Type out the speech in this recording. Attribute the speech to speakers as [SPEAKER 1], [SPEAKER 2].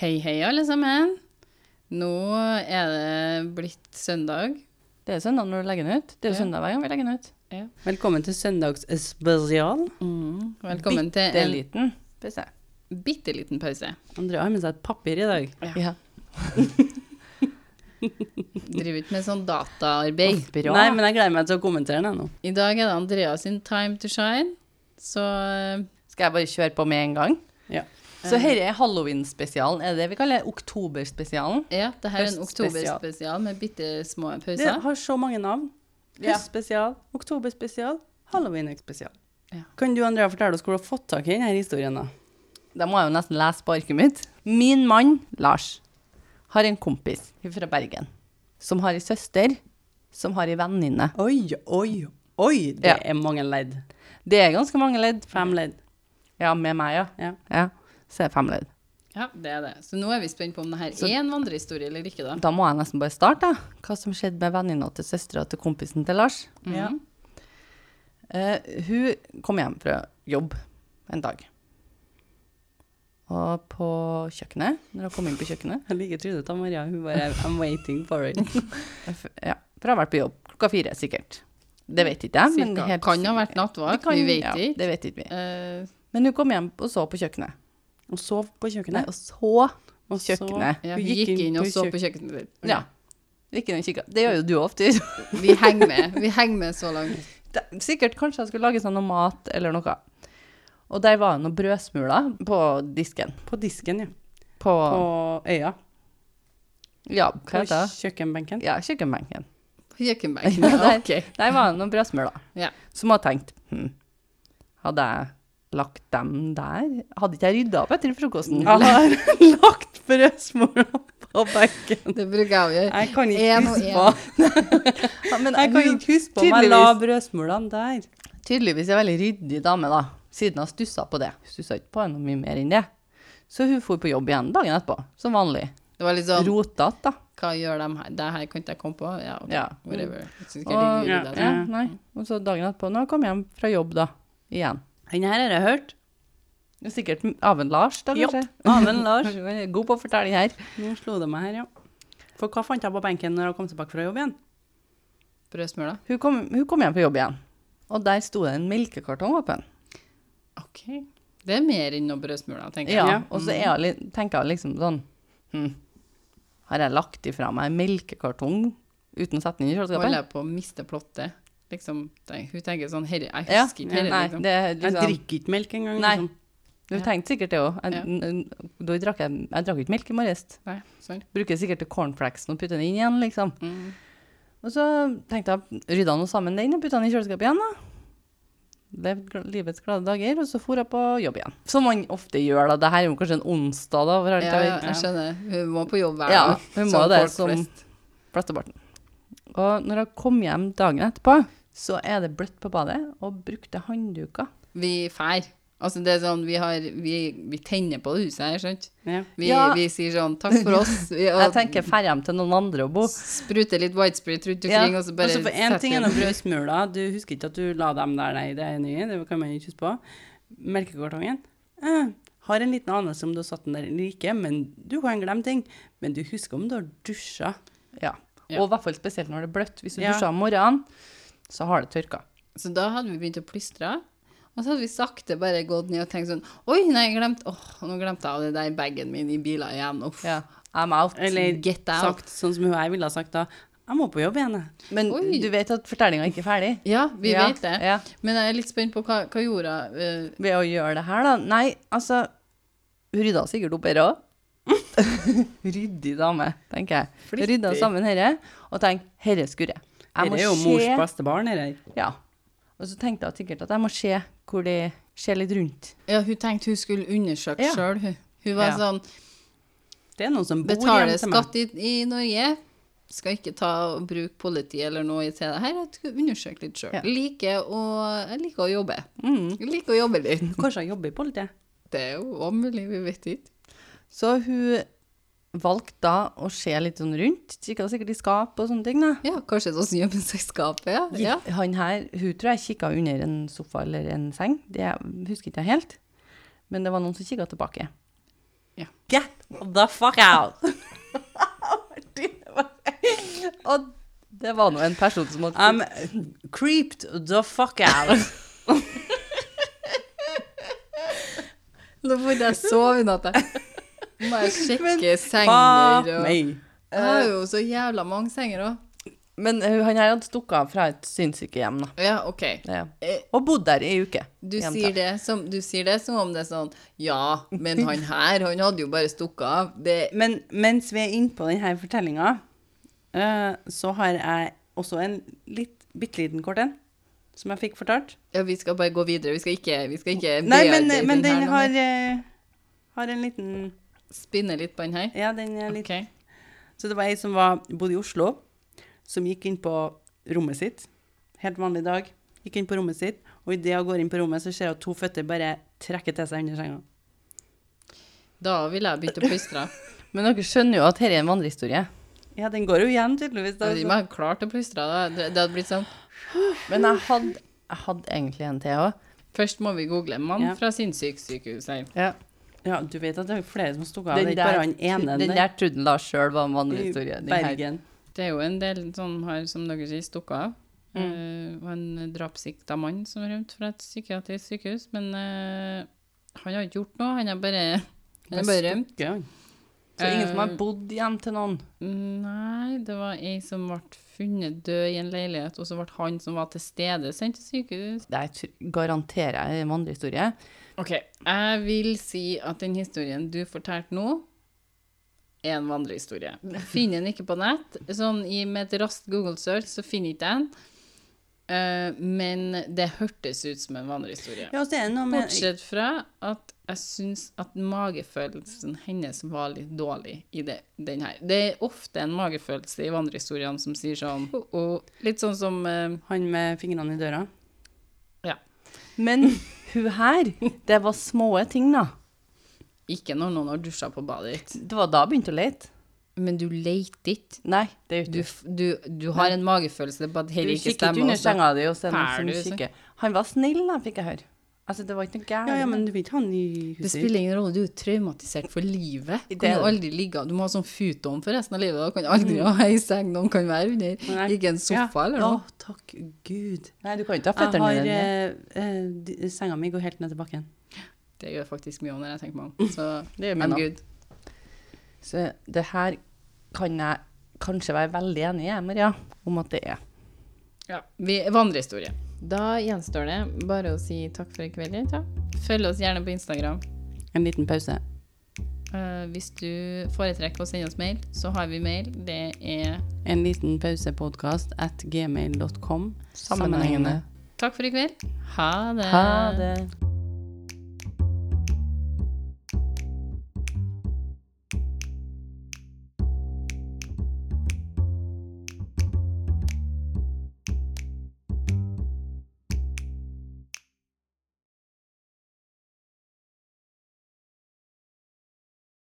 [SPEAKER 1] Hei, hei, alle sammen. Nå er det blitt søndag.
[SPEAKER 2] Det er søndag når du legger den ut. Det er jo
[SPEAKER 1] Ja.
[SPEAKER 2] søndag hver gang vi legger den ut.
[SPEAKER 3] Velkommen til søndagsspesial.
[SPEAKER 1] Mm, Velkommen
[SPEAKER 2] Det er
[SPEAKER 1] til
[SPEAKER 2] liten. Hvis jeg.
[SPEAKER 1] en bitte liten pause.
[SPEAKER 3] Andrea har med seg et papir i dag.
[SPEAKER 1] Ja. Driver ikke med sånn dataarbeid.
[SPEAKER 2] Bra.
[SPEAKER 3] Nei, men jeg gleder meg til å kommentere den jeg, nå.
[SPEAKER 1] I dag er det Andrea sin time to shine, så eh,
[SPEAKER 2] Skal jeg bare kjøre på med en gang?
[SPEAKER 3] Ja.
[SPEAKER 2] Så dette er halloween-spesialen. Er det det vi kaller oktoberspesialen?
[SPEAKER 1] ja, det her er en
[SPEAKER 3] Høstspesial.
[SPEAKER 1] oktoberspesial med bitte små
[SPEAKER 3] Det
[SPEAKER 1] pauser.
[SPEAKER 3] har så mange navn.
[SPEAKER 2] Ja.
[SPEAKER 3] Høstspesial, oktoberspesial, halloween-spesial.
[SPEAKER 1] Ja.
[SPEAKER 3] Kan du, Andrea, fortelle oss hvor du har fått tak i denne historien? da?
[SPEAKER 2] Da må jeg jo nesten lese på arket mitt. Min mann, Lars, har en kompis fra Bergen som har ei søster som har ei venninne.
[SPEAKER 3] Oi, oi, oi! Det
[SPEAKER 2] Ja.
[SPEAKER 3] er mange ledd.
[SPEAKER 2] Det er ganske mange ledd.
[SPEAKER 3] Fem ledd.
[SPEAKER 2] Ja, med meg, ja.
[SPEAKER 3] Ja.
[SPEAKER 2] ja. Så er det fem ledd.
[SPEAKER 1] Ja, det er det. Så nå er vi spent på om det her er en vandrehistorie eller ikke, da.
[SPEAKER 2] Da må jeg nesten bare starte, da. Hva som skjedde med venninna til søstera til kompisen til Lars.
[SPEAKER 3] Ja.
[SPEAKER 1] Mm.
[SPEAKER 2] Eh, hun kom hjem fra jobb en dag. Og på kjøkkenet, når hun kom inn på kjøkkenet
[SPEAKER 3] Jeg liker Trude og Maria. Hun bare I'm waiting for it.
[SPEAKER 2] f- Ja, for jeg har vært på jobb klokka fire, sikkert. Det vet ikke jeg. men
[SPEAKER 1] Cirka.
[SPEAKER 2] helt
[SPEAKER 1] kan ha
[SPEAKER 2] sikkert-
[SPEAKER 1] vært
[SPEAKER 2] Det
[SPEAKER 1] nattvakt,
[SPEAKER 2] kan-
[SPEAKER 1] vi vet
[SPEAKER 2] ja,
[SPEAKER 1] ikke.
[SPEAKER 2] Det vet ikke vi.
[SPEAKER 1] Eh,
[SPEAKER 2] Men hun kom hjem og så på kjøkkenet.
[SPEAKER 3] Og sov på
[SPEAKER 2] Nei,
[SPEAKER 3] kjøkkenet.
[SPEAKER 2] og så
[SPEAKER 3] Og så-
[SPEAKER 2] kjøkkenet.
[SPEAKER 1] ja, hun gikk inn og så på kjøkkenet ditt.
[SPEAKER 2] Ja. Ikke noen kikker. Det gjør jo du ofte.
[SPEAKER 1] Vi henger med. Vi henger med så langt.
[SPEAKER 2] Det- Sikkert kanskje jeg skulle lage sånn noe mat eller noe. Og der var det noen brødsmuler på disken.
[SPEAKER 3] På disken, ja.
[SPEAKER 2] På,
[SPEAKER 3] På øya.
[SPEAKER 2] ja, Ah. hva
[SPEAKER 3] På
[SPEAKER 2] heter det?
[SPEAKER 3] kjøkkenbenken.
[SPEAKER 2] Ja, kjøkkenbenken.
[SPEAKER 1] På kjøkkenbenken.
[SPEAKER 2] Ja,
[SPEAKER 1] Ja,
[SPEAKER 2] der.
[SPEAKER 1] ok.
[SPEAKER 2] Der var det noen brødsmuler.
[SPEAKER 1] Ja.
[SPEAKER 2] Som jeg tenkte, hm, hadde jeg lagt dem der? Hadde ikke jeg rydda opp etter frokosten?
[SPEAKER 3] Jeg har lagt brødsmula på benken.
[SPEAKER 1] Det bruker jeg å gjøre.
[SPEAKER 3] Jeg kan ikke
[SPEAKER 1] En og
[SPEAKER 3] huske
[SPEAKER 1] en.
[SPEAKER 3] på
[SPEAKER 2] Ja, men
[SPEAKER 3] Jeg kan
[SPEAKER 2] hun-
[SPEAKER 3] ikke huske på om jeg la
[SPEAKER 2] tydeligvis-
[SPEAKER 3] brødsmulene der.
[SPEAKER 2] Tydeligvis er veldig ryddig dame, da. Siden hun stussa på det. Stussa ikke på noe mye mer enn det. Så hun for på jobb igjen dagen etterpå, som vanlig.
[SPEAKER 1] Det var litt sånn
[SPEAKER 2] Rotete, da.
[SPEAKER 1] Hva gjør de her? Det her kan ikke jeg komme på. Ja, ok.
[SPEAKER 2] Ja.
[SPEAKER 1] Whatever. Jeg synes ikke
[SPEAKER 2] Og,
[SPEAKER 1] jeg
[SPEAKER 3] Ja.
[SPEAKER 1] liker det der.
[SPEAKER 2] ja, nei. og så dagen etterpå, når jeg kom hjem fra jobb, da. Igjen.
[SPEAKER 3] Den her har jeg hørt.
[SPEAKER 2] Det er Sikkert av en Lars, da,
[SPEAKER 3] Ja,
[SPEAKER 2] kanskje.
[SPEAKER 3] av en Lars.
[SPEAKER 2] Hun er God på å fortelle den her.
[SPEAKER 3] Nå slo det meg her, ja. For hva fant jeg på benken når jeg kom tilbake fra jobb igjen?
[SPEAKER 1] Brødsmuler.
[SPEAKER 2] Hun kom, hun kom hjem fra jobb igjen, og der sto det en melkekartong åpen.
[SPEAKER 1] OK. Det er mer enn noen brødsmuler, tenker
[SPEAKER 2] Ja,
[SPEAKER 1] jeg.
[SPEAKER 3] Ja.
[SPEAKER 2] og så er jeg, litt- tenker jeg liksom sånn hm, Har jeg lagt ifra meg en melkekartong uten å sette den inn i
[SPEAKER 1] Holder
[SPEAKER 2] kjøleskapet?
[SPEAKER 1] jeg på å miste plottet? Liksom, tenk- hun tenker sånn Herre, jeg
[SPEAKER 2] Ja.
[SPEAKER 1] husker ikke herre,
[SPEAKER 2] Nei,
[SPEAKER 1] liksom.
[SPEAKER 2] det er
[SPEAKER 3] Jeg
[SPEAKER 2] liksom
[SPEAKER 3] drikker ikke melk engang.
[SPEAKER 2] Nei.
[SPEAKER 3] Liksom.
[SPEAKER 2] Du tenkte sikkert det òg.
[SPEAKER 1] Ja.
[SPEAKER 2] Da drakk jeg, jeg drakk ikke melk i morges.
[SPEAKER 1] Nei, sånn.
[SPEAKER 2] Bruker sikkert til cornflakesen og putter den inn igjen, liksom.
[SPEAKER 1] Mm.
[SPEAKER 2] Og så tenkte jeg, rydda nå sammen den og putta den i kjøleskapet igjen, da. Levd gl- livets glade dager, og så for jeg på jobb igjen. Som man ofte gjør, da. Det her er jo kanskje en onsdag, da. Hvor alt
[SPEAKER 1] Ja,
[SPEAKER 2] er
[SPEAKER 1] ja, jeg skjønner. Hun må på jobb hver
[SPEAKER 2] Ja,
[SPEAKER 1] dag.
[SPEAKER 2] hun må
[SPEAKER 1] som
[SPEAKER 2] det,
[SPEAKER 1] folk
[SPEAKER 2] som-
[SPEAKER 1] flest.
[SPEAKER 2] flesteparten. Og når jeg kom hjem dagen etterpå, så er det bløtt på badet, og brukte håndduker.
[SPEAKER 1] Vi fær. Altså, det er sånn, vi, har, vi, vi tenner på det huset her, skjønt?
[SPEAKER 3] Ja.
[SPEAKER 1] Vi,
[SPEAKER 2] Ja.
[SPEAKER 1] vi sier sånn takk for oss. Vi,
[SPEAKER 2] Jeg tenker færre hjem til noen andre å bo.
[SPEAKER 1] Sprute litt white spirit rundt omkring,
[SPEAKER 2] Ja.
[SPEAKER 1] og så bare
[SPEAKER 3] Altså, for én ting er
[SPEAKER 1] setter
[SPEAKER 3] noen brødsmuler. Du husker ikke at du la dem der, nei. Det er jeg enig i. Det kan man ikke huske på. Melkekartongen. Eh, har en liten anelse om du har satt den der eller ikke, men du kan glemme ting. Men du husker om du har dusja.
[SPEAKER 2] Ja.
[SPEAKER 1] Ja.
[SPEAKER 2] Og i hvert fall spesielt når det er bløtt. Hvis du
[SPEAKER 3] Ja.
[SPEAKER 2] dusjer om morgenen, så har det tørka.
[SPEAKER 1] Så da hadde vi begynt å plystre. Og så hadde vi sakte bare gått ned og tenkt sånn Oi, nei, jeg glemte Åh, nå glemte jeg av det der bagen min i bilen igjen. Uff.
[SPEAKER 2] Ja. I'm out.
[SPEAKER 3] Eller
[SPEAKER 1] Get out.
[SPEAKER 3] sagt sånn som hun jeg ville ha sagt da. Jeg må på jobb igjen, jeg.
[SPEAKER 2] Men
[SPEAKER 1] Oi.
[SPEAKER 2] du vet at fortellinga ikke er ferdig?
[SPEAKER 1] Ja, vi
[SPEAKER 2] Ja,
[SPEAKER 1] vet det.
[SPEAKER 2] Ja.
[SPEAKER 1] Men jeg er litt spent på hva, hva eh, gjorde hun?
[SPEAKER 2] Ved å gjøre det her, da? Nei, altså Hun rydda sikkert opp her òg. Ryddig dame, tenker jeg.
[SPEAKER 3] Flittig.
[SPEAKER 2] Rydda sammen herre, og tenk herre skurre. Jeg
[SPEAKER 3] Dette
[SPEAKER 2] må
[SPEAKER 3] er jo
[SPEAKER 2] se
[SPEAKER 3] mors beste barn, dette her.
[SPEAKER 2] Ja. Og så tenkte jeg sikkert at jeg må se hvor de ser litt rundt.
[SPEAKER 1] ja, hun tenkte hun skulle undersøke
[SPEAKER 2] Ja.
[SPEAKER 1] selv sjøl. Hun. hun var
[SPEAKER 2] Ja.
[SPEAKER 1] sånn
[SPEAKER 3] Det er noen som bor
[SPEAKER 1] Betale
[SPEAKER 3] hjemme til meg.
[SPEAKER 1] skatt i, i Norge. Skal ikke ta og bruke politi eller noe til det her. Jeg skal undersøke litt sjøl.
[SPEAKER 2] Ja.
[SPEAKER 1] Liker å, jeg liker å jobbe.
[SPEAKER 2] Mm.
[SPEAKER 1] Jeg liker å jobbe litt.
[SPEAKER 3] Kanskje jeg jobber i politiet.
[SPEAKER 1] Det er jo også mulig, vi vet ikke.
[SPEAKER 2] Så hun valgte da å se litt sånn rundt. Kikka sikkert i skap og sånne ting, da.
[SPEAKER 1] Ja, kanskje det er også hjemmeselskapet, ja. ja.
[SPEAKER 2] Han her, hun tror jeg kikka under en sofa eller en seng. Det husker ikke jeg helt. Men det var noen som kikka tilbake.
[SPEAKER 1] Ja.
[SPEAKER 2] Get
[SPEAKER 3] The fuck out!
[SPEAKER 2] Og det var nå en person som hadde
[SPEAKER 3] I'm creeped the fuck out.
[SPEAKER 1] Nå får jeg sove i natt. jeg. Må jeg sjekke
[SPEAKER 3] Fuck
[SPEAKER 1] senger og Jeg
[SPEAKER 3] meg.
[SPEAKER 1] har jo så jævla mange senger òg.
[SPEAKER 2] Men ø, han her hadde stukket av fra et sinnssykehjem, da.
[SPEAKER 1] Ja, OK.
[SPEAKER 2] Ja.
[SPEAKER 1] Eh,
[SPEAKER 2] Og bodd der i ei uke.
[SPEAKER 1] Du
[SPEAKER 2] Jenta.
[SPEAKER 1] sier, det som, du sier det som om det er sånn Ja, men han her, han hadde jo bare stukket av. Det,
[SPEAKER 3] Men mens vi er inne på denne fortellinga, eh, så har jeg også en litt, bitte liten kort en, som jeg fikk fortalt.
[SPEAKER 1] ja, vi skal bare gå videre. Vi skal ikke, vi skal ikke
[SPEAKER 3] Nei, men, men
[SPEAKER 1] her
[SPEAKER 3] den
[SPEAKER 1] nå.
[SPEAKER 3] har, eh, har en liten
[SPEAKER 1] Spinne litt på den her.
[SPEAKER 3] Ja, den er litt
[SPEAKER 1] OK.
[SPEAKER 3] Så det var ei som var, bodde i Oslo, som gikk inn på rommet sitt. Helt vanlig dag. Gikk inn på rommet sitt, og idet hun går inn på rommet, så ser hun at to føtter bare trekker til seg under senga.
[SPEAKER 1] Da ville jeg begynt å plystre.
[SPEAKER 2] Men dere skjønner jo at dette er en vandrehistorie.
[SPEAKER 3] Ja, den går jo igjen, tydeligvis. Da,
[SPEAKER 1] Jeg vet ikke om jeg hadde klart å plystre. da. Det, det hadde blitt sånn
[SPEAKER 2] Men jeg hadde, jeg hadde egentlig en til òg.
[SPEAKER 1] Først må vi google 'mann
[SPEAKER 3] Ja.
[SPEAKER 1] fra sinnssyksykehus'. her.
[SPEAKER 3] Ja, du vet at det er flere som har stukket av. Det er ikke bare han ene.
[SPEAKER 2] den der trodde han Lars sjøl var en
[SPEAKER 3] i
[SPEAKER 2] vandrehistorie. Den her.
[SPEAKER 3] Bergen.
[SPEAKER 1] Det er jo en del som har, som dere sier, stukket av.
[SPEAKER 3] Mm.
[SPEAKER 1] Eh, og en drapsikta mann som rømte fra et psykiatrisk sykehus. Men eh, han har ikke gjort noe, han har bare, eh, han har bare rømt.
[SPEAKER 3] Stukket, han.
[SPEAKER 2] Så ingen som
[SPEAKER 1] Eh,
[SPEAKER 2] har bodd hjem til noen.
[SPEAKER 1] Nei, det var ei som ble funnet død i en leilighet, og så ble han som var til stede, sendt til sykehus.
[SPEAKER 2] Det er, tr- garanterer jeg er en vandrehistorie.
[SPEAKER 1] OK, jeg vil si at den historien du fortalte nå, er en vandrehistorie. Finner den ikke på nett. Sånn i, med et raskt Google search, så finner jeg ikke den. Eh, men det hørtes ut som en vandrehistorie.
[SPEAKER 3] Ja, og så er det noe med
[SPEAKER 1] Bortsett fra at jeg syns at magefølelsen hennes var litt dårlig i det, den her. Det er ofte en magefølelse i vandrehistoriene som sier sånn «Ho, ho», Litt sånn som eh,
[SPEAKER 3] han med fingrene i døra.
[SPEAKER 1] Ja.
[SPEAKER 2] Men hun her, det var små ting, da.
[SPEAKER 1] Ikke når noen har dusja på badet ditt.
[SPEAKER 2] Det var da jeg begynte å lete.
[SPEAKER 1] Men du leter ikke.
[SPEAKER 2] Nei, det er jo
[SPEAKER 1] Du,
[SPEAKER 2] ikke
[SPEAKER 1] f- du, du har en magefølelse på at
[SPEAKER 2] Du
[SPEAKER 1] dette ikke
[SPEAKER 2] kikker ikke
[SPEAKER 1] stemmer.
[SPEAKER 2] under
[SPEAKER 1] og så-
[SPEAKER 2] senga di og ser noen
[SPEAKER 1] Fær
[SPEAKER 2] som
[SPEAKER 1] du, så-
[SPEAKER 2] kikker. Han var snill, da, fikk jeg høre. Altså, det var ikke noe gærent.
[SPEAKER 3] Ja, ja, men du vil ikke ha han i
[SPEAKER 1] Det
[SPEAKER 3] huset.
[SPEAKER 1] spiller ingen rolle, du er jo traumatisert for livet. Du
[SPEAKER 2] Det Mm. er
[SPEAKER 1] kan jo aldri ligge Du må ha sånn futon for resten av livet. Da kan du aldri ha ei seng noen kan være under.
[SPEAKER 3] Nei.
[SPEAKER 1] Ikke en sofa eller noe.
[SPEAKER 3] Å, takk Gud.
[SPEAKER 2] Nei, du kan ikke ha
[SPEAKER 3] Jeg
[SPEAKER 2] føttene
[SPEAKER 3] har
[SPEAKER 2] dine
[SPEAKER 3] eh, eh, d- Senga mi går helt ned til bakken.
[SPEAKER 1] Det gjør faktisk mye når jeg tenker meg om. Så det gjør meg
[SPEAKER 2] Men da.
[SPEAKER 1] good.
[SPEAKER 2] Så det her kan jeg kanskje være veldig enig i, Maria, om at det er.
[SPEAKER 1] Ja, vi, vandrehistorie. Da gjenstår det bare å si takk for i kveld. Ja. Følg oss gjerne på Instagram.
[SPEAKER 3] En liten pause.
[SPEAKER 1] Eh, hvis du foretrekker å sende oss mail, så har vi mail. Det er
[SPEAKER 3] En liten pausepodkast at gmail.com.
[SPEAKER 2] Sammenhengende.
[SPEAKER 1] Takk for i kveld. Ha det.
[SPEAKER 2] Ha det.